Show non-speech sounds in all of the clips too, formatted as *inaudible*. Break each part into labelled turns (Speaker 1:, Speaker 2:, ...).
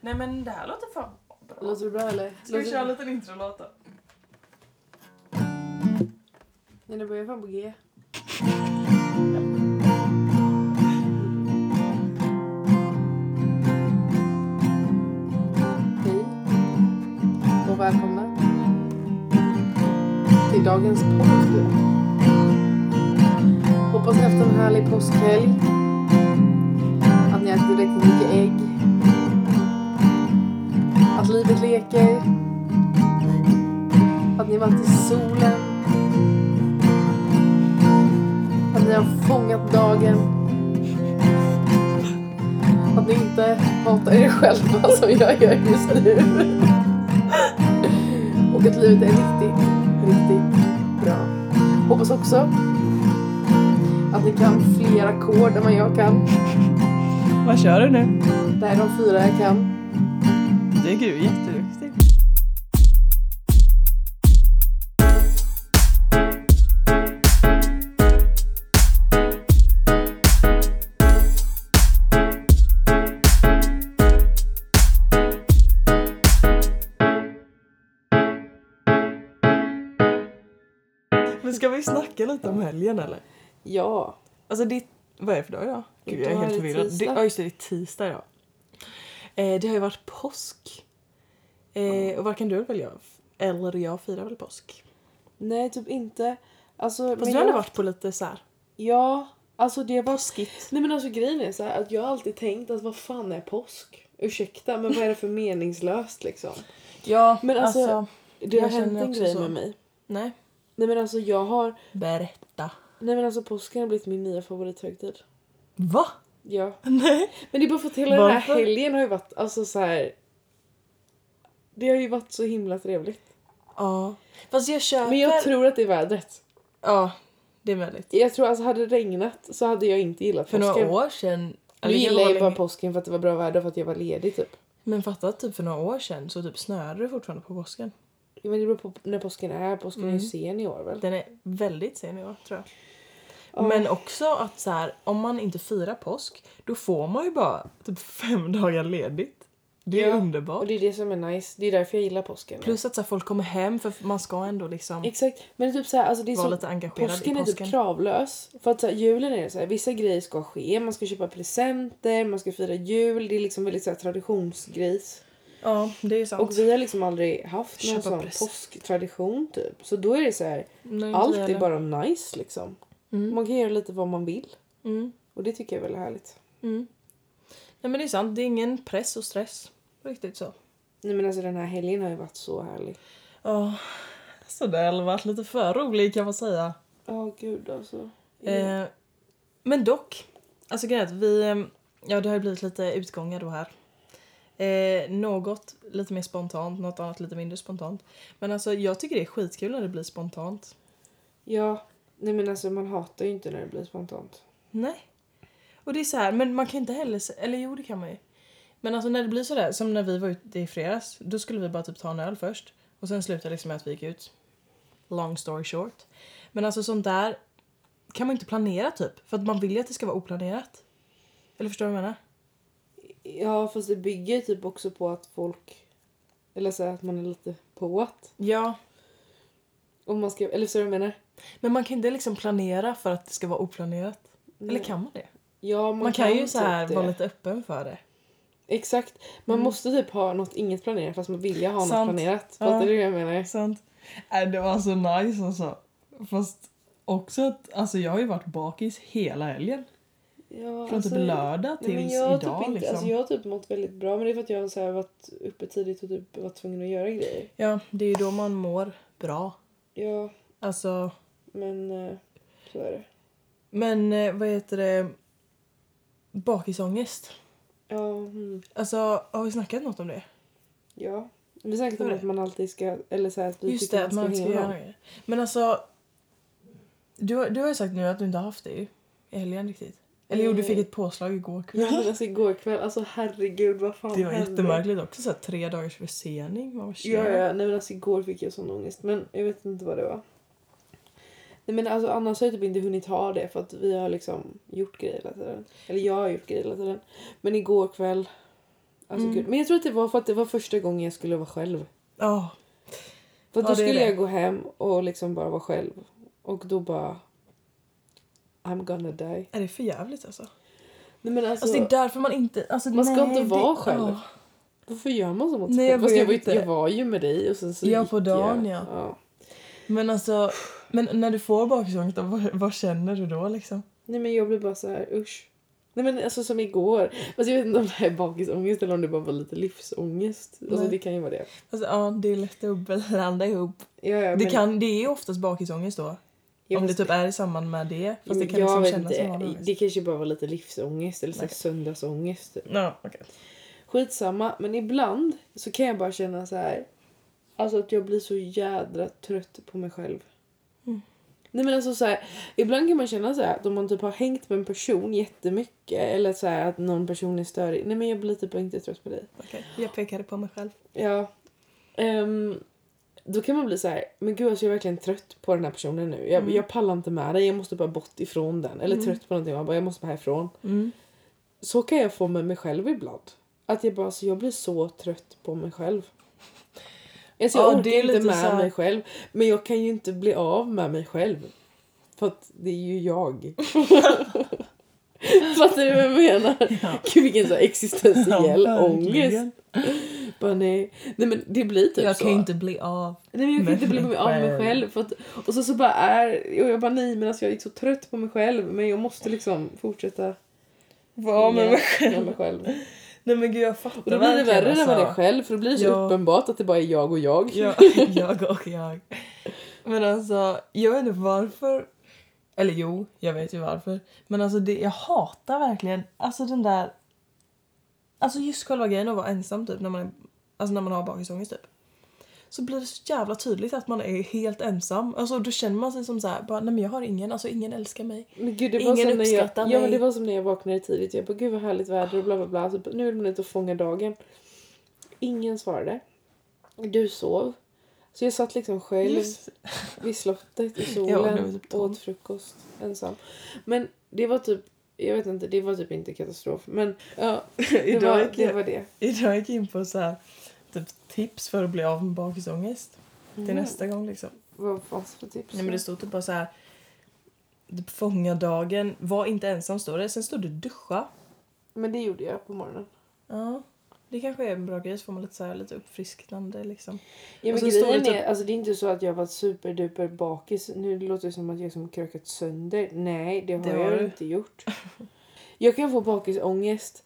Speaker 1: Nej men det här låter fan bra.
Speaker 2: Låter det bra eller?
Speaker 1: Ska vi
Speaker 2: Låter-
Speaker 1: köra en liten introlåt då?
Speaker 2: Nej, det börjar fan på G. Hej och välkomna till dagens podd. Hoppas ni haft en härlig påskhelg. Att ni ätit tillräckligt mycket ägg. Att livet leker. Att ni varit i solen. Att ni har fångat dagen. Att ni inte hatar er själva *laughs* som jag gör just nu. Och att livet är riktigt, riktigt bra. Hoppas också att ni kan fler ackord än vad jag kan.
Speaker 1: Vad kör du nu?
Speaker 2: Det här är de fyra jag kan.
Speaker 1: Det är gud jätteduktig. Men ska vi snacka lite om helgen eller?
Speaker 2: Ja.
Speaker 1: Alltså ditt... Vad är det för dag idag? Gud, jag är
Speaker 2: Idag
Speaker 1: helt
Speaker 2: är det
Speaker 1: förvirrad. Det,
Speaker 2: tisdag.
Speaker 1: ja just det, det är tisdag idag. Eh, det har ju varit påsk. Eh, och varken du eller jag, eller jag firar väl påsk.
Speaker 2: Nej, typ inte. Alltså,
Speaker 1: Fast du har ändå varit på lite så här.
Speaker 2: Ja, alltså det var...
Speaker 1: Påskigt.
Speaker 2: Nej men alltså grejen är så här att jag har alltid tänkt att vad fan är påsk? Ursäkta, men vad är
Speaker 1: *laughs*
Speaker 2: det för meningslöst liksom?
Speaker 1: Ja,
Speaker 2: men alltså- Det har
Speaker 1: Jag känner
Speaker 2: hänt en
Speaker 1: också
Speaker 2: grej
Speaker 1: så.
Speaker 2: med mig.
Speaker 1: Nej.
Speaker 2: Nej men alltså jag har...
Speaker 1: Berätta.
Speaker 2: Nej men alltså påsken har blivit min nya favorithögtid.
Speaker 1: Va?
Speaker 2: Ja.
Speaker 1: *laughs* Nej.
Speaker 2: Men det är bara för att hela den
Speaker 1: Varför?
Speaker 2: här helgen har ju varit alltså så här. Det har ju varit så himla trevligt.
Speaker 1: Ja. Fast jag köper...
Speaker 2: Men jag tror att det är vädret.
Speaker 1: Ja, det är möjligt.
Speaker 2: Jag tror alltså hade det regnat så hade jag inte gillat
Speaker 1: För
Speaker 2: påsken.
Speaker 1: några år sedan...
Speaker 2: Nu
Speaker 1: Eller,
Speaker 2: gillar jag ju
Speaker 1: var
Speaker 2: bara
Speaker 1: länge-
Speaker 2: påsken för att det var bra väder och för att jag var ledig typ.
Speaker 1: Men fatta att typ för några år sedan så typ snöade det fortfarande på påsken.
Speaker 2: Men det beror på när påsken är. Påsken är
Speaker 1: Mm.
Speaker 2: ju sen i år väl?
Speaker 1: Den är väldigt sen i år tror jag.
Speaker 2: Ja.
Speaker 1: Men också att så här, om man inte firar påsk då får man ju bara typ fem *laughs* dagar ledigt. Det är
Speaker 2: Ja. Och
Speaker 1: underbart.
Speaker 2: det är det som är nice. Det är därför jag gillar påsken.
Speaker 1: Plus att så här, folk kommer hem för man ska ändå liksom
Speaker 2: Exakt. Men det är typ så här, alltså det är
Speaker 1: vara
Speaker 2: så
Speaker 1: lite engagerad
Speaker 2: Påsken
Speaker 1: i
Speaker 2: är
Speaker 1: påsken.
Speaker 2: typ kravlös. För att så här, julen är det så här, vissa grejer ska ske. Man ska köpa presenter, man ska fira jul. Det är liksom väldigt så här, traditionsgrejs.
Speaker 1: ja, det är sant.
Speaker 2: Och vi har liksom aldrig haft någon
Speaker 1: Köpa
Speaker 2: sån
Speaker 1: present.
Speaker 2: påsktradition typ. Så då är det så här,
Speaker 1: Nej, inte
Speaker 2: allt
Speaker 1: vi
Speaker 2: är
Speaker 1: heller.
Speaker 2: bara nice liksom.
Speaker 1: Mm,
Speaker 2: Man kan göra lite vad man vill.
Speaker 1: mm,
Speaker 2: Och det tycker jag är väldigt härligt.
Speaker 1: mm. Nej men det är sant, det är ingen press och stress. Riktigt så.
Speaker 2: Nej men alltså den här helgen har ju varit så härlig.
Speaker 1: Ja, så det har varit lite för rolig kan man säga.
Speaker 2: Ja gud alltså.
Speaker 1: Eh, men dock, alltså grejen är att vi, eh, ja det har ju blivit lite utgångar då här. Eh, något lite mer spontant, något annat lite mindre spontant. Men alltså jag tycker det är skitkul när det blir spontant.
Speaker 2: Ja. Nej men alltså man hatar ju inte när det blir spontant.
Speaker 1: Nej. Och det är så här, men man kan inte heller, se- eller jo det kan man ju. Men alltså när det blir sådär, som när vi var ute i fredags, då skulle vi bara typ ta en öl först. Och sen slutade det liksom med att vi gick ut. Long story short. Men alltså sånt där kan man inte planera typ. För att man vill ju att det ska vara oplanerat. Eller förstår du vad jag menar?
Speaker 2: Ja fast det bygger ju typ också på att folk... Eller så här, att man är lite på att.
Speaker 1: Ja.
Speaker 2: Om man ska, eller så jag menar?
Speaker 1: Men man kan inte liksom planera för att det ska vara oplanerat. Eller kan man det?
Speaker 2: Ja, man,
Speaker 1: Man, kan, ju
Speaker 2: typ
Speaker 1: så här
Speaker 2: det.
Speaker 1: vara lite öppen för det.
Speaker 2: Exakt. Man måste typ ha något inget planerat fast man vill ju ha
Speaker 1: Sant.
Speaker 2: något planerat.
Speaker 1: Ja.
Speaker 2: Fattar du vad jag menar?
Speaker 1: Sant. Äh, det var så nice alltså. Fast också att alltså, jag har ju varit bakis hela helgen.
Speaker 2: Ja, alltså,
Speaker 1: Från typ lördag
Speaker 2: nej, men
Speaker 1: tills
Speaker 2: jag har
Speaker 1: idag
Speaker 2: typ inte,
Speaker 1: liksom.
Speaker 2: alltså, jag har typ mått väldigt bra men det är för att jag har så här varit uppe tidigt och typ varit tvungen att göra grejer.
Speaker 1: Ja, det är ju då man mår bra.
Speaker 2: Ja,
Speaker 1: Alltså,
Speaker 2: men eh, så är det.
Speaker 1: men eh, vad heter det? Bakisångest.
Speaker 2: Ja, mm,
Speaker 1: Alltså, har vi snackat något om det?
Speaker 2: ja. Vi snackade
Speaker 1: Så är
Speaker 2: om
Speaker 1: det.
Speaker 2: att man alltid ska, eller så här, att vi
Speaker 1: Just
Speaker 2: tycker
Speaker 1: det, att man inte ska
Speaker 2: hänga
Speaker 1: göra
Speaker 2: med.
Speaker 1: det. Men alltså, du, har- du har ju sagt nu att du inte har haft det ju, i helgen riktigt. Eller jo, du fick ett påslag igår kväll.
Speaker 2: Eh. Ja men alltså igår kväll, alltså herregud vad fan
Speaker 1: Det var
Speaker 2: hände?
Speaker 1: jättemärkligt också, så här, tre dagars försening. Man var
Speaker 2: Ja, ja, nej men alltså igår fick jag sån ångest men jag vet inte vad det var. Nej men alltså annars har jag typ inte hunnit ha det för att vi har liksom gjort grejer hela tiden. Eller jag har gjort grejer hela tiden. Men igår kväll, Alltså,
Speaker 1: Mm.
Speaker 2: gud. Men jag tror att det var för att det var första gången jag skulle vara själv.
Speaker 1: Ja.
Speaker 2: För
Speaker 1: Ja,
Speaker 2: att då
Speaker 1: det är
Speaker 2: skulle
Speaker 1: det.
Speaker 2: jag gå hem och liksom bara vara själv. Och då bara... I'm gonna die.
Speaker 1: Är det för jävligt alltså?
Speaker 2: Nej, men alltså,
Speaker 1: Alltså det är därför man inte... Alltså,
Speaker 2: Man ska
Speaker 1: nej,
Speaker 2: inte
Speaker 1: det-
Speaker 2: vara själv.
Speaker 1: ja.
Speaker 2: Varför gör man så mot sig
Speaker 1: Nej, jag
Speaker 2: själv? Fast
Speaker 1: vet
Speaker 2: jag, var ju-
Speaker 1: inte.
Speaker 2: jag var ju med dig och sen så
Speaker 1: Ja,
Speaker 2: gick
Speaker 1: på dagen,
Speaker 2: jag.
Speaker 1: ja. Men alltså, men när du får bakisångest, då, vad, vad känner du då liksom?
Speaker 2: Nej men jag blev bara så här, usch. Nej men alltså som igår. Alltså, jag vet inte om det här är bakisångest eller om det bara var lite livsångest. Alltså
Speaker 1: Nej.
Speaker 2: det kan ju vara det.
Speaker 1: Alltså, ja, det är lätt att blanda ihop.
Speaker 2: Ja, ja,
Speaker 1: Det,
Speaker 2: men-
Speaker 1: kan, det är oftast bakisångest då.
Speaker 2: ja,
Speaker 1: om det
Speaker 2: fast-
Speaker 1: typ är i samband med det. Fast det kan
Speaker 2: jag
Speaker 1: liksom
Speaker 2: vet
Speaker 1: kännas som
Speaker 2: inte.
Speaker 1: vanlig
Speaker 2: Det kanske bara var lite livsångest eller så här
Speaker 1: Nej.
Speaker 2: söndagsångest. typ.
Speaker 1: Ja, okej.
Speaker 2: Skitsamma, men ibland så kan jag bara känna så här. Alltså att jag blir så jädra trött på mig själv.
Speaker 1: Mm.
Speaker 2: Nej men alltså så här, ibland kan man känna så här att om man typ har hängt med en person jättemycket eller så här att någon person är störig. Nej men jag blir typ inte trött på dig.
Speaker 1: okej. Jag pekade på mig själv.
Speaker 2: Ja. Ehm, då kan man bli så här, men gud alltså jag är verkligen trött på den här personen nu. Jag,
Speaker 1: Mm.
Speaker 2: jag pallar inte med dig, jag måste bara bort ifrån den. Eller
Speaker 1: Mm.
Speaker 2: trött på någonting, jag, bara, jag måste bara härifrån. Så kan jag få med mig själv ibland. Att jag bara, alltså jag blir så trött på mig själv. Alltså jag
Speaker 1: Ja,
Speaker 2: orkar
Speaker 1: det är
Speaker 2: inte
Speaker 1: lite
Speaker 2: med
Speaker 1: så här-
Speaker 2: mig själv. Men jag kan ju inte bli av med mig själv. För att det är
Speaker 1: *laughs*
Speaker 2: ju jag. Fattar du vad jag menar? *laughs*
Speaker 1: Ja.
Speaker 2: Gud vilken så här existentiell
Speaker 1: Ja, verkligen.
Speaker 2: ångest. Bara nej. Nej men det blir typ
Speaker 1: jag
Speaker 2: så.
Speaker 1: kan ju inte bli av.
Speaker 2: Nej men jag kan
Speaker 1: med
Speaker 2: inte bli
Speaker 1: mig
Speaker 2: av mig
Speaker 1: själv.
Speaker 2: själv. För att, och så, så bara är... Och jag bara nej men alltså jag är så trött på mig själv. Men jag måste liksom fortsätta.
Speaker 1: Vara med mig
Speaker 2: med med
Speaker 1: själv.
Speaker 2: mig själv.
Speaker 1: Nej men gud jag fattar
Speaker 2: Och då blir det
Speaker 1: verkligen,
Speaker 2: värre när man är
Speaker 1: alltså.
Speaker 2: själv för då blir det så
Speaker 1: Ja.
Speaker 2: uppenbart att det bara är jag och jag.
Speaker 1: Ja, *laughs* jag och jag. Men alltså, jag vet inte varför. Eller jo, jag vet ju varför. Men alltså det, jag hatar verkligen alltså den där... Alltså just själva grejen att vara ensam typ när man, är, alltså när man har bakisångest typ. Så blir det så jävla tydligt att man är helt ensam. Alltså då känner man sig som så här, bara, nej men jag har ingen, alltså ingen älskar mig.
Speaker 2: Men gud, det var
Speaker 1: Ingen
Speaker 2: som när jag,
Speaker 1: uppskattar
Speaker 2: ja, men
Speaker 1: mig.
Speaker 2: det var som när jag vaknade tidigt. Jag bara gud vad härligt väder och bla bla bla. Så bara, nu är man ute och fångar dagen. Ingen svarade. Du sov. Så jag satt liksom själv
Speaker 1: Just.
Speaker 2: vid slottet i
Speaker 1: Ja, det
Speaker 2: solen
Speaker 1: var typ
Speaker 2: och
Speaker 1: tolv.
Speaker 2: åt frukost ensam. Men det var typ, jag vet inte, det var typ inte katastrof. Men ja, det,
Speaker 1: *laughs* Idag
Speaker 2: var,
Speaker 1: gick
Speaker 2: det
Speaker 1: jag-
Speaker 2: var det.
Speaker 1: Idag gick jag in på så här, typ tips för att bli av med bakisångest. Till
Speaker 2: Mm.
Speaker 1: nästa gång liksom.
Speaker 2: Vad fanns det för tips?
Speaker 1: Nej men det stod typ bara så här. Fånga dagen, var inte ensam står det. Sen stod det duscha.
Speaker 2: men det gjorde jag på morgonen.
Speaker 1: Ja. Det kanske är en bra grej så får man lite, så här, lite uppfrisknande liksom.
Speaker 2: Ja,
Speaker 1: Och
Speaker 2: men
Speaker 1: så står det
Speaker 2: grejen
Speaker 1: typ-
Speaker 2: är, alltså, det är inte så att jag har varit superduper bakis. Nu låter det som att jag som krökat sönder. Nej, det har
Speaker 1: Det har
Speaker 2: jag
Speaker 1: du.
Speaker 2: inte gjort. *laughs* Jag kan få bakisångest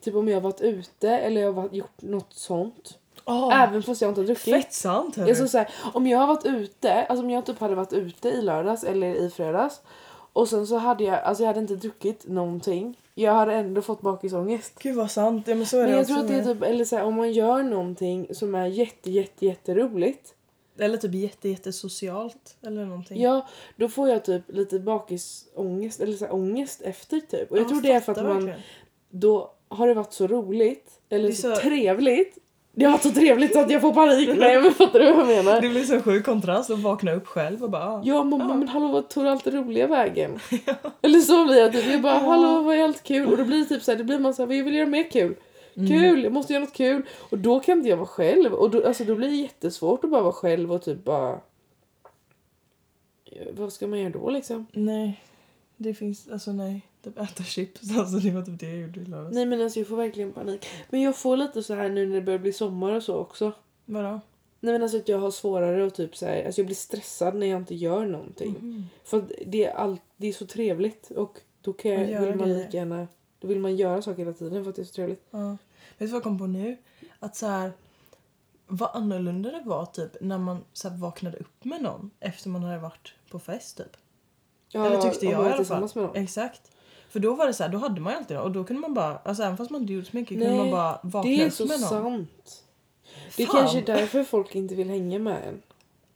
Speaker 2: typ om jag har varit ute eller jag har varit, gjort något sånt.
Speaker 1: Oh,
Speaker 2: Även fast jag inte har druckit.
Speaker 1: fett sant hörru!
Speaker 2: Ah, Jag så här, om jag har varit ute, alltså om jag typ hade varit ute i lördags eller i fredags och sen så hade jag, alltså jag hade inte druckit någonting. Jag hade ändå fått bakisångest.
Speaker 1: Gud vad sant, ja men så är
Speaker 2: Men
Speaker 1: det
Speaker 2: jag
Speaker 1: också
Speaker 2: tror att det
Speaker 1: med.
Speaker 2: är typ, eller så här, om man gör någonting som är jätte jätte jätteroligt
Speaker 1: Eller typ jätte, jätte socialt eller någonting.
Speaker 2: Ja, då får jag typ lite bakisångest eller så här ångest efter typ. Och jag
Speaker 1: Ja,
Speaker 2: tror det är för att
Speaker 1: fattar
Speaker 2: man
Speaker 1: verkligen.
Speaker 2: då har det varit så roligt eller
Speaker 1: Det är
Speaker 2: så,
Speaker 1: så-
Speaker 2: trevligt. Det har varit så trevligt så att jag får
Speaker 1: *laughs*
Speaker 2: panik. Nej men fattar du vad jag menar?
Speaker 1: Det blir så sjuk kontrast att vakna upp själv och bara ah.
Speaker 2: Ja mamma
Speaker 1: Ja.
Speaker 2: men hallå vad tog allt det roliga vägen? Eller så blir jag typ, jag bara hallå vad är allt kul? Och då blir det typ så här, det blir man så här, vad vill jag göra mer kul?
Speaker 1: mm."
Speaker 2: Kul, jag måste göra något kul. Och då kan inte jag vara själv. Och då, alltså, då blir det jättesvårt att bara vara själv och typ bara... Vad ska man göra då liksom?
Speaker 1: Nej. Det finns, alltså nej. Typ äta chips, *laughs* alltså det var typ det jag gjorde i lördags.
Speaker 2: Nej men alltså jag får verkligen panik. Men jag får lite så här nu när det börjar bli sommar och så också.
Speaker 1: Vadå?
Speaker 2: Nej men alltså att jag har svårare och typ så här, alltså jag blir stressad när jag inte gör någonting.
Speaker 1: Mhm.
Speaker 2: För att det är, allt det är så trevligt och då kan
Speaker 1: Och
Speaker 2: jag,
Speaker 1: göra
Speaker 2: vill man
Speaker 1: grejer.
Speaker 2: lika gärna, då vill man göra saker hela tiden för att det är så trevligt.
Speaker 1: Ja. Vet du vad jag kom på nu? Att så här, vad annorlunda det var typ när man så här, vaknade upp med någon efter man hade varit på fest typ.
Speaker 2: Ja,
Speaker 1: Eller tyckte
Speaker 2: och
Speaker 1: jag
Speaker 2: vara
Speaker 1: i alla fall.
Speaker 2: tillsammans med någon.
Speaker 1: Exakt. För då var det så här, då hade man ju alltid det och då kunde man bara, alltså även fast man inte gjort så mycket kunde
Speaker 2: Nej,
Speaker 1: man bara vakna
Speaker 2: Det är
Speaker 1: upp
Speaker 2: så
Speaker 1: med någon.
Speaker 2: sant. Det är
Speaker 1: Fan.
Speaker 2: kanske är därför folk inte vill hänga med en.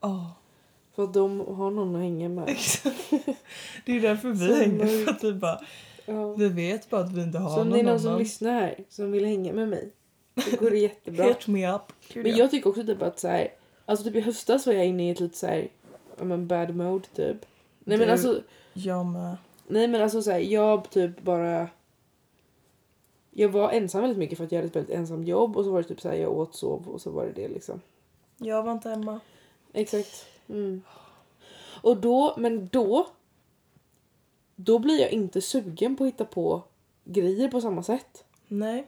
Speaker 1: Ja,
Speaker 2: *laughs* För att de har någon att
Speaker 1: *laughs*
Speaker 2: hänga med.
Speaker 1: exakt. Det är därför
Speaker 2: Så
Speaker 1: vi hänger
Speaker 2: mörkt.
Speaker 1: för att vi bara,
Speaker 2: Ja.
Speaker 1: vi vet bara att vi inte har
Speaker 2: Så om det
Speaker 1: någon
Speaker 2: är någon som
Speaker 1: annan.
Speaker 2: lyssnar här som vill hänga med mig. Då
Speaker 1: *laughs*
Speaker 2: går det jättebra.
Speaker 1: Hit me up.
Speaker 2: Men jag tycker också typ att så här, alltså typ i höstas var jag inne i ett lite så här, ja men bad mode typ. Nej men
Speaker 1: Du-
Speaker 2: alltså,
Speaker 1: jag med.
Speaker 2: nej men alltså så här, jag typ bara jag var ensam väldigt mycket för att jag hade ett väldigt ensamt jobb och så var det typ så här jag åt, sov och så var det det liksom.
Speaker 1: Jag var inte hemma.
Speaker 2: Exakt. Mm. Och då, men då. Då blir jag inte sugen på att hitta på grejer på samma sätt.
Speaker 1: Nej.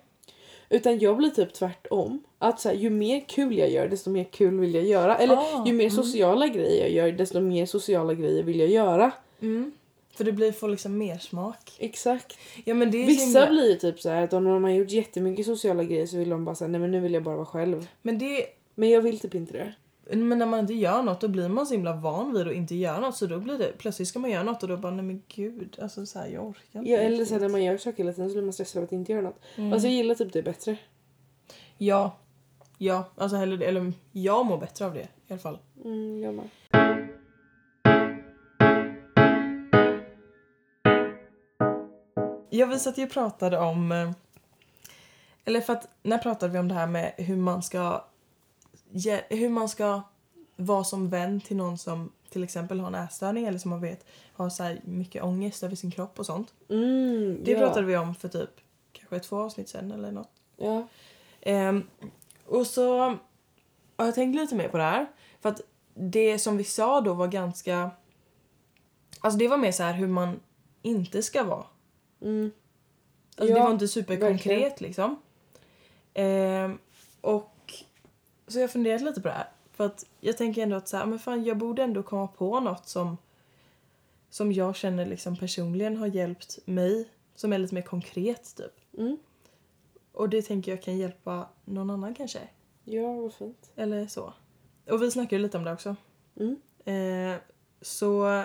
Speaker 2: Utan jag blir typ tvärtom. Att så här, ju mer kul jag gör desto mer kul vill jag göra. Eller
Speaker 1: Ah,
Speaker 2: ju mer sociala grejer jag gör desto mer sociala grejer vill jag göra.
Speaker 1: Mm. För det blir, får liksom mer smak.
Speaker 2: Exakt.
Speaker 1: Ja, men det är så
Speaker 2: Vissa
Speaker 1: himla-
Speaker 2: blir ju typ så här att om de har gjort jättemycket sociala grejer så vill de bara säga nej men nu vill jag bara vara själv.
Speaker 1: Men det...
Speaker 2: Men jag vill typ inte det.
Speaker 1: Men när man inte gör något då blir man så himla van vid att inte göra något så då blir det plötsligt ska man göra något och då bara nej men gud alltså så här, jag orkar inte.
Speaker 2: Ja, eller
Speaker 1: riktigt.
Speaker 2: sen när man gör saker hela tiden så blir man stressad av att inte göra något.
Speaker 1: Mm.
Speaker 2: Alltså jag gillar typ det bättre.
Speaker 1: Ja. Ja, alltså hellre det. Eller jag mår bättre av det i alla fall.
Speaker 2: Mm, jag med.
Speaker 1: Jag visste att jag pratade om... eh, Eller för att när pratade vi om det här med hur man ska... ge- Hur man ska vara som vän till någon som till exempel har en ätstörning eller som man vet har så här mycket ångest över sin kropp och sånt.
Speaker 2: Mm,
Speaker 1: Det
Speaker 2: ja.
Speaker 1: pratade vi om för typ kanske två avsnitt sen eller något.
Speaker 2: Ja.
Speaker 1: Ehm, och så har jag tänkt lite mer på det här. För att det som vi sa då var ganska... Alltså det var mer så här hur man inte ska vara.
Speaker 2: Mm.
Speaker 1: Alltså det
Speaker 2: Ja,
Speaker 1: var inte superkonkret
Speaker 2: verkligen.
Speaker 1: liksom. Ehm, och så jag har funderat lite på det här. För att jag tänker ändå att så här, men fan, jag borde ändå komma på något som, som jag känner liksom personligen har hjälpt mig. Som är lite mer konkret typ.
Speaker 2: Mm.
Speaker 1: Och det tänker jag kan hjälpa någon annan kanske.
Speaker 2: ja, vad fint.
Speaker 1: Eller så. Och vi snackade ju lite om det också.
Speaker 2: Mm.
Speaker 1: Eh, så...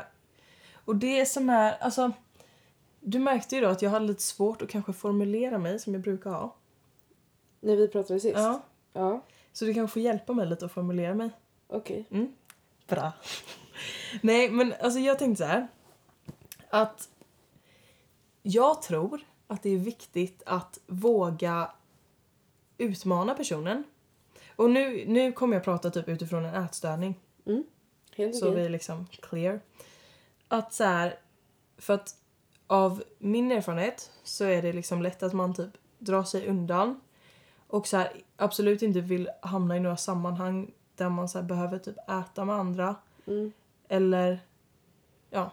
Speaker 1: Och det som är... Alltså, du märkte ju då att jag hade lite svårt att kanske formulera mig som jag brukar ha.
Speaker 2: När vi pratade sist?
Speaker 1: Ja.
Speaker 2: Ja,
Speaker 1: Så du kanske får hjälpa mig lite att formulera mig.
Speaker 2: okej.
Speaker 1: Bra. Nej, men alltså jag tänkte så här. Att jag tror att det är viktigt att våga utmana personen. Och nu, nu kommer jag prata typ utifrån en ätstörning.
Speaker 2: Helt
Speaker 1: Så vi
Speaker 2: okej.
Speaker 1: är liksom clear. Att så här, för att av min erfarenhet så är det liksom lätt att man typ drar sig undan och så här, absolut inte vill hamna i några sammanhang där man så här behöver typ äta med andra
Speaker 2: Mm.
Speaker 1: eller ja,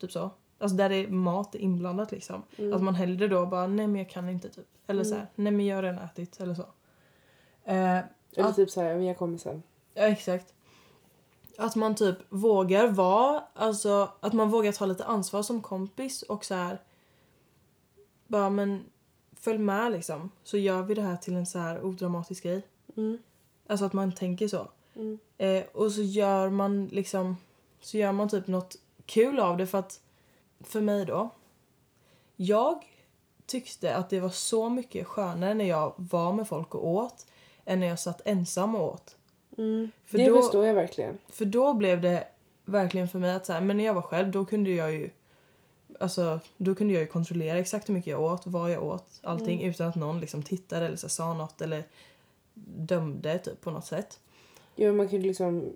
Speaker 1: typ så. Alltså där är mat inblandat liksom.
Speaker 2: Mm.
Speaker 1: Att man hellre då bara nej men jag kan inte typ. Eller så här, nej men jag har redan ätit eller så. Eh,
Speaker 2: Eller
Speaker 1: att-
Speaker 2: typ så här, men jag kommer sen.
Speaker 1: Ja, exakt. Att man typ vågar vara, alltså att man vågar ta lite ansvar som kompis och så här bara men följ med liksom så gör vi det här till en så här odramatisk grej.
Speaker 2: Mm.
Speaker 1: Alltså att man tänker så.
Speaker 2: Mm.
Speaker 1: Eh, och så gör man liksom så gör man typ något kul av det för att för mig då. Jag tyckte att det var så mycket skönare när jag var med folk och åt än när jag satt ensam och åt.
Speaker 2: Mm.
Speaker 1: För
Speaker 2: det
Speaker 1: då-
Speaker 2: förstår jag verkligen.
Speaker 1: För då blev det verkligen för mig att så här, men när jag var själv då kunde jag ju Alltså då kunde jag ju kontrollera exakt hur mycket jag åt, vad jag åt, allting
Speaker 2: Mm.
Speaker 1: utan att någon liksom tittade eller så här, sa något eller dömde typ på något sätt.
Speaker 2: Ja, men man kan ju liksom...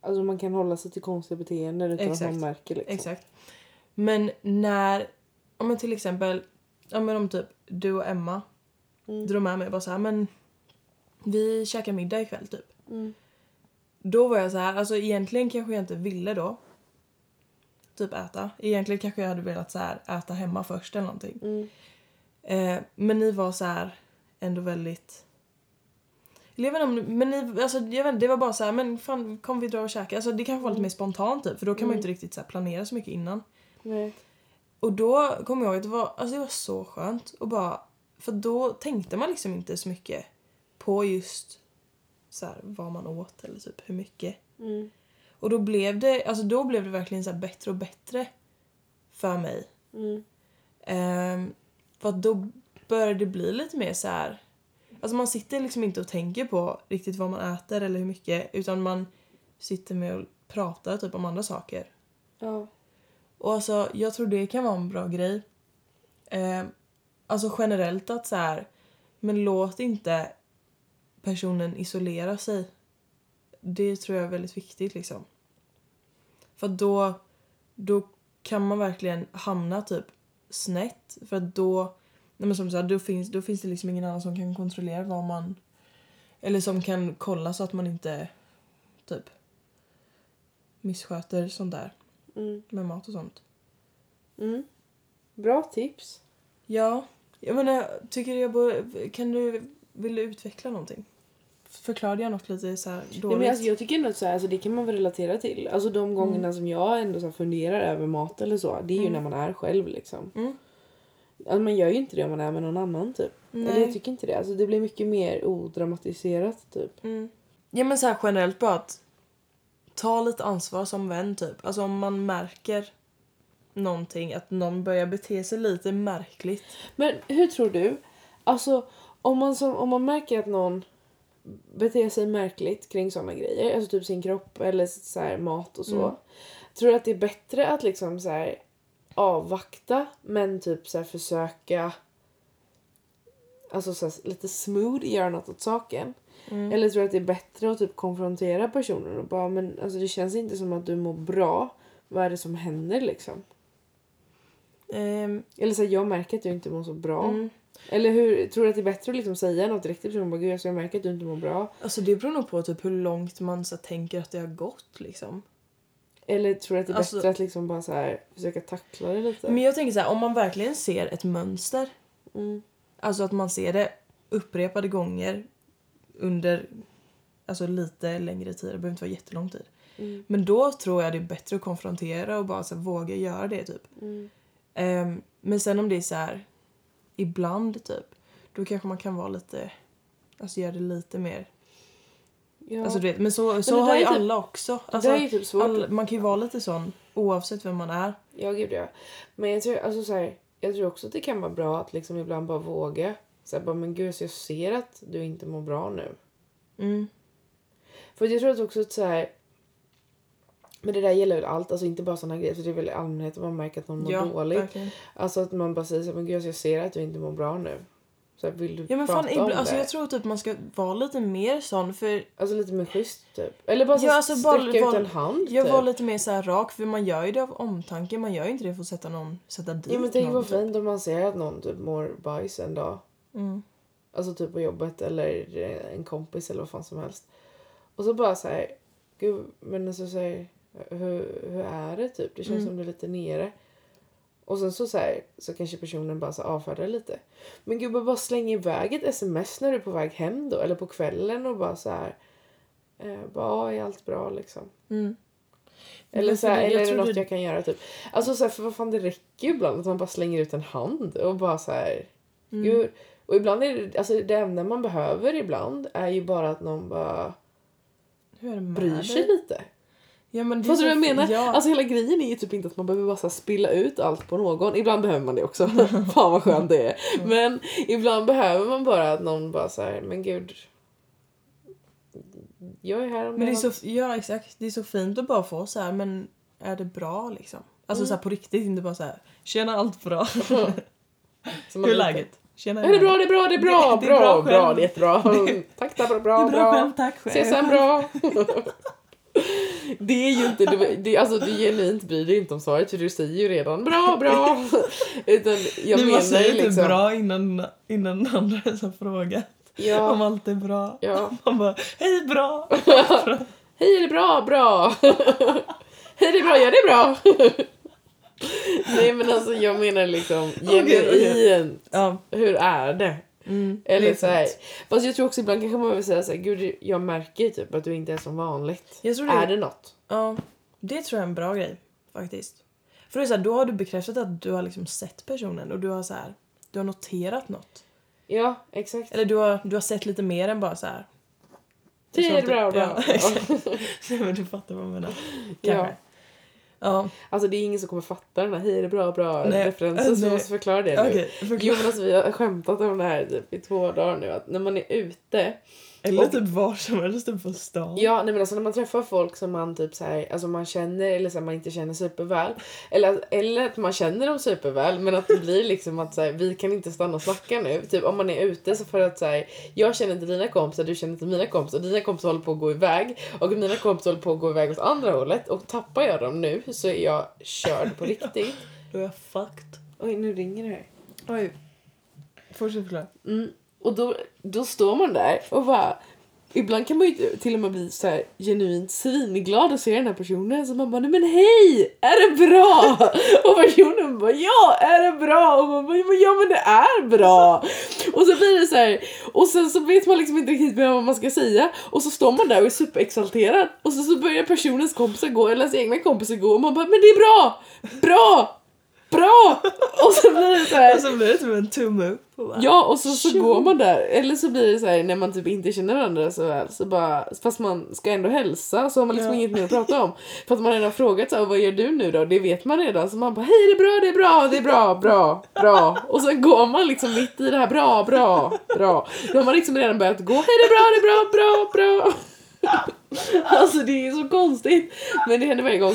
Speaker 2: Alltså man kan hålla sig till konstiga beteenden utan att
Speaker 1: Exakt.
Speaker 2: man märker liksom.
Speaker 1: Exakt. Men när, om men till exempel, ja men om typ du och Emma
Speaker 2: Mm.
Speaker 1: drog med mig och bara så här, men vi käkar middag ikväll typ.
Speaker 2: Mm.
Speaker 1: Då var jag så här, alltså egentligen kanske jag inte ville då. Typ äta. Egentligen kanske jag hade velat så här, äta hemma först eller någonting.
Speaker 2: Mm.
Speaker 1: Eh, men ni var så här ändå väldigt... Eller Jag vet inte om, men ni, alltså, jag vet, inte, det var bara så här, men fan kom vi dra och käka? Alltså, det kanske var lite mer spontant typ, för då kan man ju inte riktigt så här, planera så mycket innan.
Speaker 2: Nej.
Speaker 1: Och då kommer jag ihåg att det var, alltså det var så skönt och bara för då tänkte man liksom inte så mycket på just så här, vad man åt eller typ hur mycket.
Speaker 2: Mm.
Speaker 1: Och då blev det, alltså då blev det verkligen så här bättre och bättre för mig.
Speaker 2: Mm.
Speaker 1: Ehm, för att då började det bli lite mer så här. Alltså man sitter liksom inte och tänker på riktigt vad man äter eller hur mycket utan man sitter med och pratar typ om andra saker.
Speaker 2: Ja.
Speaker 1: Och alltså, jag tror det kan vara en bra grej. Eh, alltså generellt att så här, men låt inte personen isolera sig. Det tror jag är väldigt viktigt liksom. För att då, då kan man verkligen hamna typ snett. För att då, nej men som så här, då, finns, då finns det liksom ingen annan som kan kontrollera vad man... Eller som kan kolla så att man inte typ missköter sånt där
Speaker 2: Mm.
Speaker 1: med mat och sånt.
Speaker 2: Mm. Bra tips.
Speaker 1: Ja, jag menar, tycker jag bör, kan du, vill du utveckla någonting? Förklarade jag något lite så här dåligt?
Speaker 2: Nej, men alltså, jag tycker ändå att så här, alltså, det kan man väl relatera till. Alltså de gångerna som jag ändå så här, funderar över mat eller så. Det är ju
Speaker 1: Mm.
Speaker 2: när man är själv liksom.
Speaker 1: Mm.
Speaker 2: Alltså, man gör ju inte det om man är med någon annan typ. Eller jag
Speaker 1: Nej.
Speaker 2: tycker inte det. Alltså det blir mycket mer odramatiserat typ.
Speaker 1: Mm. Ja men så här generellt bara att ta lite ansvar som vän typ. Alltså om man märker någonting, att någon börjar bete sig lite märkligt.
Speaker 2: Men hur tror du? Alltså om man, som, om man märker att någon beter sig märkligt kring sådana grejer, alltså typ sin kropp eller så här, mat och så.
Speaker 1: Mm.
Speaker 2: Tror du att det är bättre att liksom så här, avvakta men typ så här, försöka alltså så här, lite smooth göra något åt saken?
Speaker 1: Mm.
Speaker 2: Eller tror du att det är bättre att typ konfrontera personen och bara men alltså det känns inte som att du mår bra. Vad är det som händer liksom?
Speaker 1: Ehm,
Speaker 2: Eller så här, jag märker att du inte mår så bra.
Speaker 1: mm.
Speaker 2: Eller hur, tror du att det är bättre att liksom säga något direkt till personen? Bara, Gud, alltså jag märker att du inte mår bra.
Speaker 1: Alltså det beror nog på typ hur långt man så här, tänker att det har gått liksom.
Speaker 2: Eller tror du att det är
Speaker 1: Alltså-
Speaker 2: bättre att liksom bara så här, försöka tackla det lite?
Speaker 1: Men jag tänker så här, om man verkligen ser ett mönster
Speaker 2: Mm.
Speaker 1: Alltså att man ser det upprepade gånger under alltså lite längre tid. Det behöver inte vara jättelång tid.
Speaker 2: Mm.
Speaker 1: Men då tror jag det är bättre att konfrontera och bara så här, våga göra det. typ.
Speaker 2: Mm.
Speaker 1: Ehm, men sen om det är så här ibland typ. Då kanske man kan vara lite, alltså göra det lite mer.
Speaker 2: Ja.
Speaker 1: Alltså, du vet, men så, så
Speaker 2: det där
Speaker 1: har ju
Speaker 2: är typ-
Speaker 1: alla också.
Speaker 2: det
Speaker 1: Alltså,
Speaker 2: där är ju typ svårt.
Speaker 1: all, man kan ju vara lite sån oavsett vem man är.
Speaker 2: Ja, gud ja. Men jag tror, alltså, så här, jag tror också att det kan vara bra att liksom ibland bara våga. Så här, bara, men gud, så jag ser att du inte mår bra nu.
Speaker 1: Mm.
Speaker 2: För jag tror att också att så här. Men det där gäller väl allt, alltså inte bara såna grejer. För det är väl i allmänhet att man märker att någon mår
Speaker 1: Ja,
Speaker 2: dåligt.
Speaker 1: verkligen.
Speaker 2: Alltså att man bara säger så här, men gud, alltså, jag ser att du inte mår bra nu. Så här, vill du
Speaker 1: Ja men fan,
Speaker 2: prata om
Speaker 1: ibland,
Speaker 2: det?
Speaker 1: alltså, jag tror typ man ska vara lite mer sån för
Speaker 2: Alltså lite mer schysst typ. Eller bara, så
Speaker 1: Ja,
Speaker 2: här
Speaker 1: alltså, bara-
Speaker 2: sträcka ut
Speaker 1: bara-
Speaker 2: en hand
Speaker 1: Jag
Speaker 2: typ.
Speaker 1: var lite mer så här rak för man gör ju det av omtanke. Man gör ju inte det för att sätta någon, sätta dit
Speaker 2: ja, men tänk
Speaker 1: någon.
Speaker 2: vad fint om man ser att någon typ mår bajs en dag.
Speaker 1: Mm.
Speaker 2: Alltså typ på jobbet eller eh, en kompis eller vad fan som helst. Och så bara så här, gud men alltså så här, hur, hur är det typ? Det känns
Speaker 1: Mm.
Speaker 2: som du är lite nere. Och sen så, så, här, så kanske personen bara så här avfärdar lite. Men gud bara släng iväg ett sms när du är på väg hem då eller på kvällen och bara så här. Eh, bara "Ja, är allt bra liksom.
Speaker 1: Mm.
Speaker 2: Eller,
Speaker 1: Men
Speaker 2: så här,
Speaker 1: för det- jag
Speaker 2: eller är det
Speaker 1: tror
Speaker 2: något
Speaker 1: det-
Speaker 2: jag kan göra? Typ. Alltså så här, för vad fan det räcker ju ibland att man bara slänger ut en hand och bara så här.
Speaker 1: Mm.
Speaker 2: Gud. Och ibland är det, alltså det enda man behöver ibland är ju bara att någon bara
Speaker 1: Hur är det med
Speaker 2: bryr
Speaker 1: dig?
Speaker 2: sig lite.
Speaker 1: Ja, men det är
Speaker 2: Fast
Speaker 1: så-
Speaker 2: du vad jag menar?
Speaker 1: Ja.
Speaker 2: Alltså hela grejen är ju typ inte att man behöver bara så här spilla ut allt på någon. Ibland behöver man det också. *laughs* Fan vad skönt det är.
Speaker 1: Mm.
Speaker 2: Men ibland behöver man bara att någon bara så här, men gud. Jag är här om
Speaker 1: men det är
Speaker 2: något."
Speaker 1: så, ja exakt. Det är så fint att bara få så här men är det bra liksom? Alltså
Speaker 2: Mm.
Speaker 1: så här på riktigt inte bara så här tjena allt
Speaker 2: *laughs*
Speaker 1: bra.
Speaker 2: Så man
Speaker 1: Hur är
Speaker 2: inte-
Speaker 1: läget? Tjena
Speaker 2: Ja, det är bra, det är bra, det är bra,
Speaker 1: Det- det är bra
Speaker 2: bra, bra,
Speaker 1: själv.
Speaker 2: det är jättebra. Tack, tack, bra,
Speaker 1: Det
Speaker 2: bra,
Speaker 1: är bra själv,
Speaker 2: bra.
Speaker 1: tack själv.
Speaker 2: Ses
Speaker 1: *laughs*
Speaker 2: sen, bra. *laughs* Det är ju inte, det, det, alltså du genuint bryr dig inte om svaret för du säger ju redan bra, bra. *laughs* Utan jag
Speaker 1: Nej, men alltså,
Speaker 2: menar
Speaker 1: man
Speaker 2: ju
Speaker 1: säger inte
Speaker 2: liksom.
Speaker 1: typ bra innan, innan den andra ens har frågat om
Speaker 2: Ja,
Speaker 1: allt är bra.
Speaker 2: ja.
Speaker 1: Man bara hej bra.
Speaker 2: *laughs* Hej, är det bra, bra. *laughs* Hej, det är bra, ja det är bra. *laughs* Nej men alltså jag menar liksom genuint.
Speaker 1: Okej, okej. Ja.
Speaker 2: Hur är det?
Speaker 1: Mm, det
Speaker 2: Eller
Speaker 1: är
Speaker 2: så här,
Speaker 1: fint.
Speaker 2: fast jag tror också ibland kanske man vill säga så här, gud jag märker typ att du inte är som vanligt.
Speaker 1: Jag tror det
Speaker 2: Är det något?
Speaker 1: Ja, det tror jag är en bra grej faktiskt. För det är så här, då har du bekräftat att du har liksom sett personen och du har så här, du har noterat något.
Speaker 2: Ja, exakt.
Speaker 1: Eller du har, du har sett lite mer än bara så här.
Speaker 2: Det är
Speaker 1: sånt-
Speaker 2: bra, bra.
Speaker 1: Ja, *laughs* exakt. Nej, men du fattar vad jag menar. Kanske. Ja,
Speaker 2: Alltså det är ingen som kommer fatta den här hej det är bra, bra
Speaker 1: Nej,
Speaker 2: referensen så
Speaker 1: nej.
Speaker 2: vi måste förklara det nu.
Speaker 1: okej. förklara.
Speaker 2: Jo men alltså vi har skämtat om det här typ, i två dagar nu att när man är ute
Speaker 1: Eller
Speaker 2: och-
Speaker 1: typ var som helst typ på stan.
Speaker 2: Ja, nej men alltså när man träffar folk som man typ så här, alltså man känner eller så här, man inte känner superväl. Eller, eller att man känner dem superväl men att det blir liksom att så här, vi kan inte stanna och snacka nu. Typ om man är ute så för att så här, jag känner inte dina kompisar, du känner inte mina kompisar. Dina kompisar håller på att gå iväg och mina kompisar håller på att gå iväg åt andra hållet. Och tappar jag dem nu så är jag körd på riktigt.
Speaker 1: Då är jag fucked.
Speaker 2: Oj, nu ringer det här.
Speaker 1: Oj. Fortsätt förklara.
Speaker 2: Mm. Och då, då står man där och bara... Ibland kan man ju till och med bli så här genuint svinglad och se den här personen. Så man bara, nej men hej! Är det bra? *laughs* och personen bara, ja! Är det bra? Och man bara, "Ja, men- ja men det är bra! och så blir det så här. Och sen så vet man liksom inte riktigt vad man ska säga. Och så står man där och är superexalterad. Och så, så börjar personens kompisar gå, eller ens egna kompisar gå. Och man bara, men det är bra! Bra! Bra! och så blir det så här.
Speaker 1: Och så blir det typ en tumme upp. och bara-
Speaker 2: Ja och så, så
Speaker 1: Tjo.
Speaker 2: går man där. Eller så blir det så här när man typ inte känner varandra så väl. Så bara, fast man ska ändå hälsa så har man liksom
Speaker 1: Ja.
Speaker 2: inget mer att prata om. *laughs* För att man redan har frågat så här, vad gör du nu då? Det vet man redan. Så man bara hej det är bra, det är bra, det är bra, bra, bra. Och sen går man liksom mitt i det här bra, bra, bra. Då har man liksom redan börjat gå hej det är bra, det är bra, bra, bra. *laughs* Alltså det är så konstigt. Men det händer varje gång.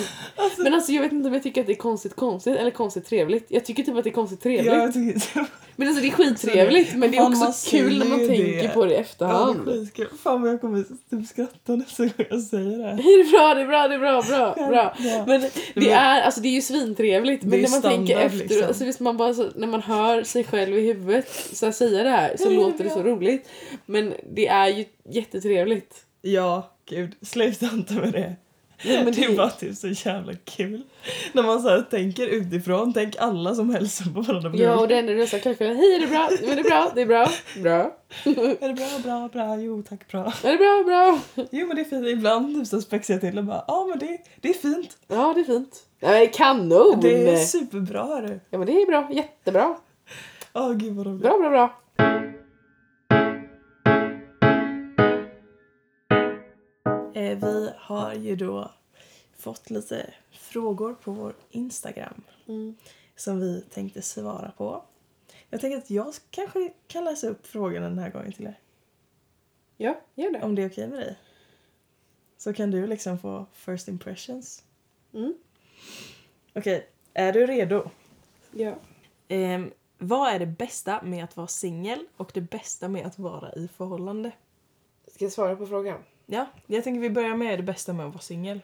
Speaker 2: Men alltså jag vet inte om jag tycker att det är konstigt konstigt eller konstigt trevligt. Jag tycker typ att det är konstigt trevligt.
Speaker 1: Ja, jag tycker inte...
Speaker 2: Men alltså det är skittrevligt men det
Speaker 1: Fan,
Speaker 2: är
Speaker 1: man
Speaker 2: också kul när man
Speaker 1: säger ju
Speaker 2: tänker
Speaker 1: det.
Speaker 2: på det i
Speaker 1: Ja,
Speaker 2: efterhand.
Speaker 1: det är skitkul. Fan vad jag kommer typ skratta nästa gång jag säger det. här.
Speaker 2: *laughs* Det är bra, det är bra, det är bra, bra, bra.
Speaker 1: Ja.
Speaker 2: Men det
Speaker 1: Men-
Speaker 2: är, alltså det är ju svintrevligt
Speaker 1: Det
Speaker 2: men
Speaker 1: är
Speaker 2: när man tänker
Speaker 1: standard,
Speaker 2: efter,
Speaker 1: liksom.
Speaker 2: alltså visst man bara så, när man hör sig själv i huvudet så här, säga det här så
Speaker 1: Ja, det är
Speaker 2: låter det
Speaker 1: bra.
Speaker 2: så roligt. Men det är ju jättetrevligt.
Speaker 1: Ja, gud. Sluta inte med det.
Speaker 2: Nej,
Speaker 1: *laughs* *laughs*
Speaker 2: men
Speaker 1: det
Speaker 2: det-
Speaker 1: är bara typ så jävla kul. När man så här tänker utifrån, tänk alla som hälsar på varandra på
Speaker 2: Ja och
Speaker 1: det...
Speaker 2: det enda du sa klart hej är det bra, men det är bra, det är bra, bra.
Speaker 1: Är det bra, bra, bra, jo tack bra.
Speaker 2: Är det bra, bra.
Speaker 1: Jo men det är fint, ibland typ så spexar jag till och bara ja ah, men det, det är fint.
Speaker 2: Ja det är fint. Nej men kanon!
Speaker 1: Det är superbra hörru.
Speaker 2: Ja men det är bra, jättebra.
Speaker 1: Åh gud vad roligt.
Speaker 2: Bra, bra, bra.
Speaker 1: Eh, vi har ju då fått lite frågor på vår Instagram
Speaker 2: Mm.
Speaker 1: som vi tänkte svara på. Jag tänker att jag kanske kan läsa upp frågorna den här gången till er.
Speaker 2: Ja, gör det.
Speaker 1: Om det är okej med dig. Så kan du liksom få first impressions.
Speaker 2: Mm.
Speaker 1: Okej, är du redo?
Speaker 2: Ja.
Speaker 1: Ehm, vad är det bästa med att vara singel och det bästa med att vara i förhållande?
Speaker 2: Ska jag svara på frågan?
Speaker 1: Ja, jag tänker vi börjar med det bästa med att vara singel.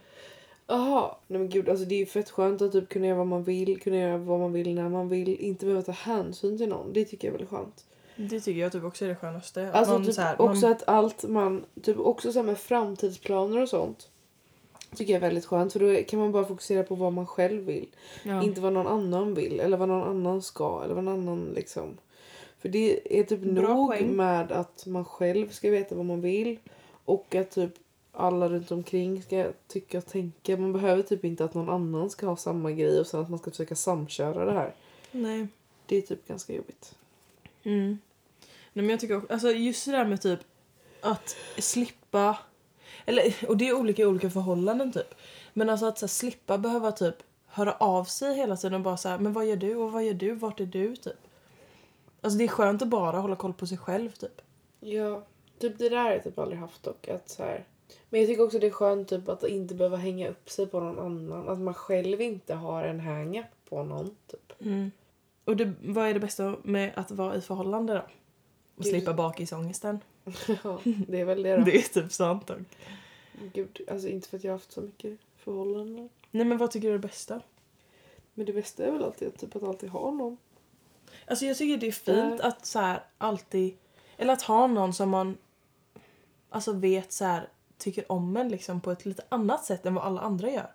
Speaker 2: Jaha, nej men gud alltså det är ju fett skönt att typ kunna göra vad man vill, kunna göra vad man vill när man vill, inte behöva ta hänsyn till någon. Det tycker jag är väldigt skönt.
Speaker 1: Det tycker jag typ också är det skönaste. Att
Speaker 2: Alltså
Speaker 1: man
Speaker 2: typ
Speaker 1: så här-
Speaker 2: också att allt man, typ också så här med framtidsplaner och sånt. Tycker jag är väldigt skönt för då kan man bara fokusera på vad man själv vill.
Speaker 1: ja.
Speaker 2: Inte vad någon annan vill eller vad någon annan ska eller vad någon annan liksom. För det är typ
Speaker 1: Bra
Speaker 2: nog
Speaker 1: poäng.
Speaker 2: med att man själv ska veta vad man vill och att typ alla runt omkring ska tycka och tänka. Man behöver typ inte att någon annan ska ha samma grej och sen att man ska försöka samköra det här.
Speaker 1: Nej.
Speaker 2: Det är typ ganska jobbigt.
Speaker 1: Mm. Nej, men jag tycker också, alltså just det där med typ att slippa, eller, och det är olika i olika förhållanden typ. Men alltså att så här, slippa behöva typ höra av sig hela tiden och bara så här, men vad gör du och vad gör du, vart är du typ. Alltså det är skönt att bara hålla koll på sig själv typ.
Speaker 2: Ja, typ det där har jag typ aldrig haft dock. Att så här. Men jag tycker också det är skönt typ att inte behöva hänga upp sig på någon annan. Att man själv inte har en hang-up på någon typ.
Speaker 1: Och det, vad är det bästa med att vara i förhållande då? Och
Speaker 2: Gud.
Speaker 1: slippa bakisångesten.
Speaker 2: *laughs* Ja, det är
Speaker 1: *laughs*
Speaker 2: väl det då.
Speaker 1: Det är typ sant dock.
Speaker 2: Gud, alltså inte för att jag har haft så mycket förhållanden.
Speaker 1: Nej men vad tycker du är det bästa?
Speaker 2: Men det bästa är väl alltid typ att alltid ha någon.
Speaker 1: Alltså jag tycker det är fint att så här alltid, eller att ha någon som man alltså vet så här tycker om en liksom på ett lite annat sätt än vad alla andra gör.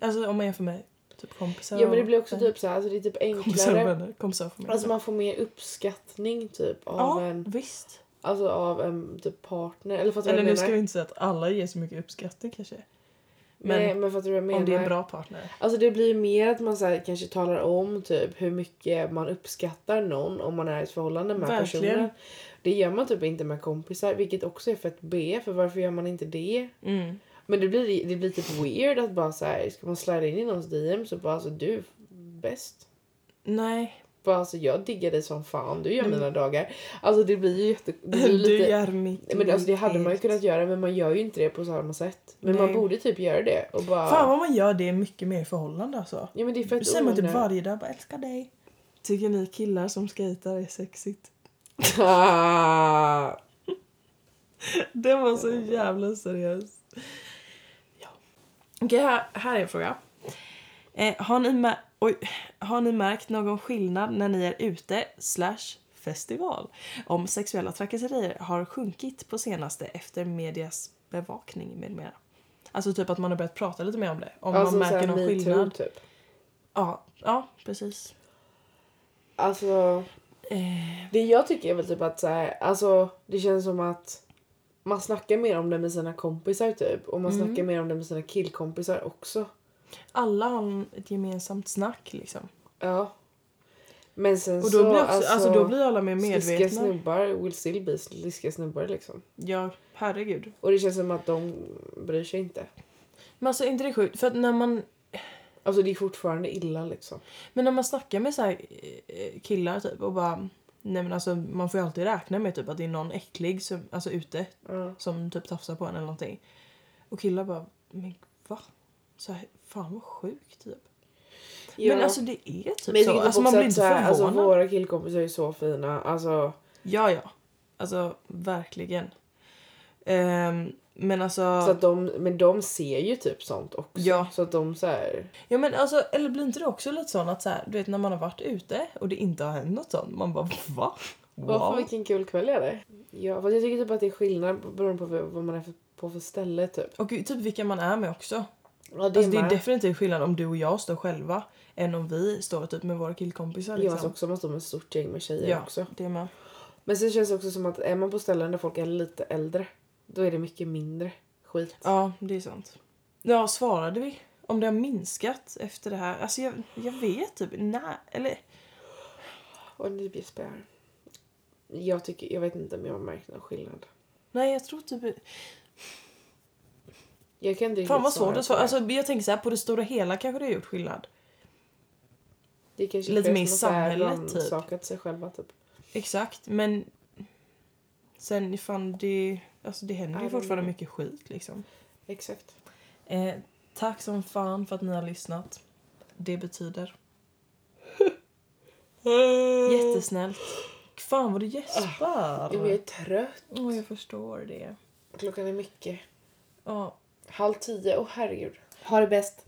Speaker 1: Alltså om man jämför med typ kompisar
Speaker 2: Ja men det
Speaker 1: och-
Speaker 2: blir också typ så här, alltså det är typ
Speaker 1: kompisar och
Speaker 2: enklare.
Speaker 1: vänner, kompisar och familj.
Speaker 2: Alltså man får mer uppskattning typ av
Speaker 1: ja,
Speaker 2: en
Speaker 1: visst.
Speaker 2: alltså av en typ partner. Eller fattar du
Speaker 1: Eller
Speaker 2: vad
Speaker 1: nu
Speaker 2: jag
Speaker 1: ska
Speaker 2: menar?
Speaker 1: vi inte säga att alla ger så mycket uppskattning kanske. Men
Speaker 2: Nej men fattar du vad jag menar?
Speaker 1: om det är en bra partner.
Speaker 2: Alltså det blir mer att man så här, kanske talar om typ hur mycket man uppskattar någon om man är i ett förhållande med
Speaker 1: Verkligen.
Speaker 2: personen. Det gör man typ inte med kompisar vilket också är fett B för varför gör man inte det?
Speaker 1: Mm.
Speaker 2: Men det blir, det blir typ weird att bara så här, ska man släda in i någons DM så bara alltså du är bäst.
Speaker 1: Nej,
Speaker 2: Bara alltså jag diggar dig som fan, du gör mina dagar. Alltså det blir ju jätte... Det blir
Speaker 1: Mm. *laughs* du
Speaker 2: lite,
Speaker 1: gör mitt
Speaker 2: men alltså det hade man ju
Speaker 1: liv.
Speaker 2: kunnat göra men man gör ju inte det på samma sätt. Men man
Speaker 1: Nej.
Speaker 2: borde typ göra det och bara...
Speaker 1: Fan vad man gör det mycket mer i förhållande alltså.
Speaker 2: Ja men det är
Speaker 1: Nu
Speaker 2: fett
Speaker 1: säger man typ
Speaker 2: onödigt.
Speaker 1: varje dag bara älskar dig. Tycker ni killar som skejtar är sexigt? *laughs*
Speaker 2: *laughs* Ah.
Speaker 1: Det var så jävla seriöst. Ja. Okej, här, här är en fråga. Eh, har, ni med, Och har ni märkt någon skillnad när ni är ute slash festival? Om sexuella trakasserier har sjunkit på senaste efter medias bevakning med mera. Alltså typ att man har börjat prata lite mer om det. Om
Speaker 2: alltså,
Speaker 1: man
Speaker 2: så
Speaker 1: märker
Speaker 2: här
Speaker 1: någon
Speaker 2: metoo,
Speaker 1: skillnad.
Speaker 2: typ.
Speaker 1: Ja, ja, precis.
Speaker 2: Alltså,
Speaker 1: Eh,
Speaker 2: det jag tycker är väl typ att så här, alltså, det känns som att man snackar mer om det med sina kompisar typ. Och man
Speaker 1: Mm.
Speaker 2: snackar mer om det med sina killkompisar också.
Speaker 1: alla har en- ett gemensamt snack liksom.
Speaker 2: Ja. Men sen
Speaker 1: Och
Speaker 2: så,
Speaker 1: då blir, också, alltså, då blir alla mer
Speaker 2: Sliska
Speaker 1: medvetna.
Speaker 2: snubbar will still be sliska snubbar liksom.
Speaker 1: Ja, herregud.
Speaker 2: Och det känns som att de bryr sig inte.
Speaker 1: Men alltså är inte det sjukt? För att när man
Speaker 2: Alltså det är fortfarande illa liksom.
Speaker 1: Men när man snackar med så här eh, killar typ och bara Nej men alltså man får ju alltid räkna med typ att det är någon äcklig som, alltså ute
Speaker 2: Ja.
Speaker 1: som typ tafsar på en eller någonting. Och killar bara men va? Så här, fan vad sjukt typ. Men alltså det är typ
Speaker 2: Men jag
Speaker 1: så.
Speaker 2: tycker
Speaker 1: Alltså
Speaker 2: också
Speaker 1: man blir
Speaker 2: att
Speaker 1: inte
Speaker 2: så här,
Speaker 1: förvånad.
Speaker 2: alltså, våra killkompisar är så fina. Alltså,
Speaker 1: Ja ja. Alltså verkligen. Ehm, men alltså.
Speaker 2: så att de, men de ser ju typ sånt också.
Speaker 1: Ja.
Speaker 2: Så att de så här,
Speaker 1: Ja men alltså eller blir inte det också lite sån att så här, du vet när man har varit ute och det inte har hänt något sånt. Man bara va?
Speaker 2: Vad för
Speaker 1: Wow.
Speaker 2: vilken kul kväll jag hade. Ja, fast jag tycker typ att det är skillnad beroende på vad man är för, på för ställe typ.
Speaker 1: Och typ vilka man är med också.
Speaker 2: Ja,
Speaker 1: Det är, alltså, det är
Speaker 2: med.
Speaker 1: definitivt skillnad om du och jag står själva än om vi står typ med våra killkompisar.
Speaker 2: Ja,
Speaker 1: Liksom.
Speaker 2: alltså också man står med ett stort gäng med tjejer
Speaker 1: Ja,
Speaker 2: också.
Speaker 1: det med.
Speaker 2: Men sen känns det också som att är man på ställen där folk är lite äldre, då är det mycket mindre skit.
Speaker 1: Ja, det är sant. Ja, svarade vi? Om det har minskat efter det här? Alltså jag, jag vet typ nej, eller
Speaker 2: Och nu blir jag här. Jag tycker, jag vet inte om jag har märkt någon skillnad.
Speaker 1: nej jag tror typ...
Speaker 2: Jag kan inte
Speaker 1: Fan
Speaker 2: riktigt
Speaker 1: vad
Speaker 2: svara
Speaker 1: svårt
Speaker 2: på
Speaker 1: att svara.
Speaker 2: det.
Speaker 1: Alltså jag tänker så här på det stora hela kanske det har gjort skillnad.
Speaker 2: det kanske
Speaker 1: lite
Speaker 2: är
Speaker 1: mer i
Speaker 2: som att så här
Speaker 1: samhället, typ.
Speaker 2: rannsakat sig själva typ.
Speaker 1: Exakt, men sen fan det... Alltså det händer
Speaker 2: I
Speaker 1: ju
Speaker 2: don't
Speaker 1: fortfarande
Speaker 2: know.
Speaker 1: mycket skit liksom.
Speaker 2: Exakt.
Speaker 1: Eh, tack som fan för att ni har lyssnat. Det betyder Mm. Jättesnällt. Fan vad du gäspar.
Speaker 2: Jo, Jag är trött.
Speaker 1: Åh, jag förstår det.
Speaker 2: Klockan är mycket.
Speaker 1: Ja.
Speaker 2: Halv tio. Åh herregud. Ha det bäst.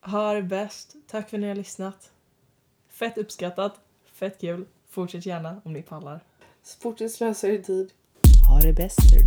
Speaker 1: Ha det bäst. Tack för att ni har lyssnat. Fett uppskattat. Fett kul. Fortsätt gärna om ni pallar.
Speaker 2: Fortsätt slösa er tid.
Speaker 1: Ha det bäst.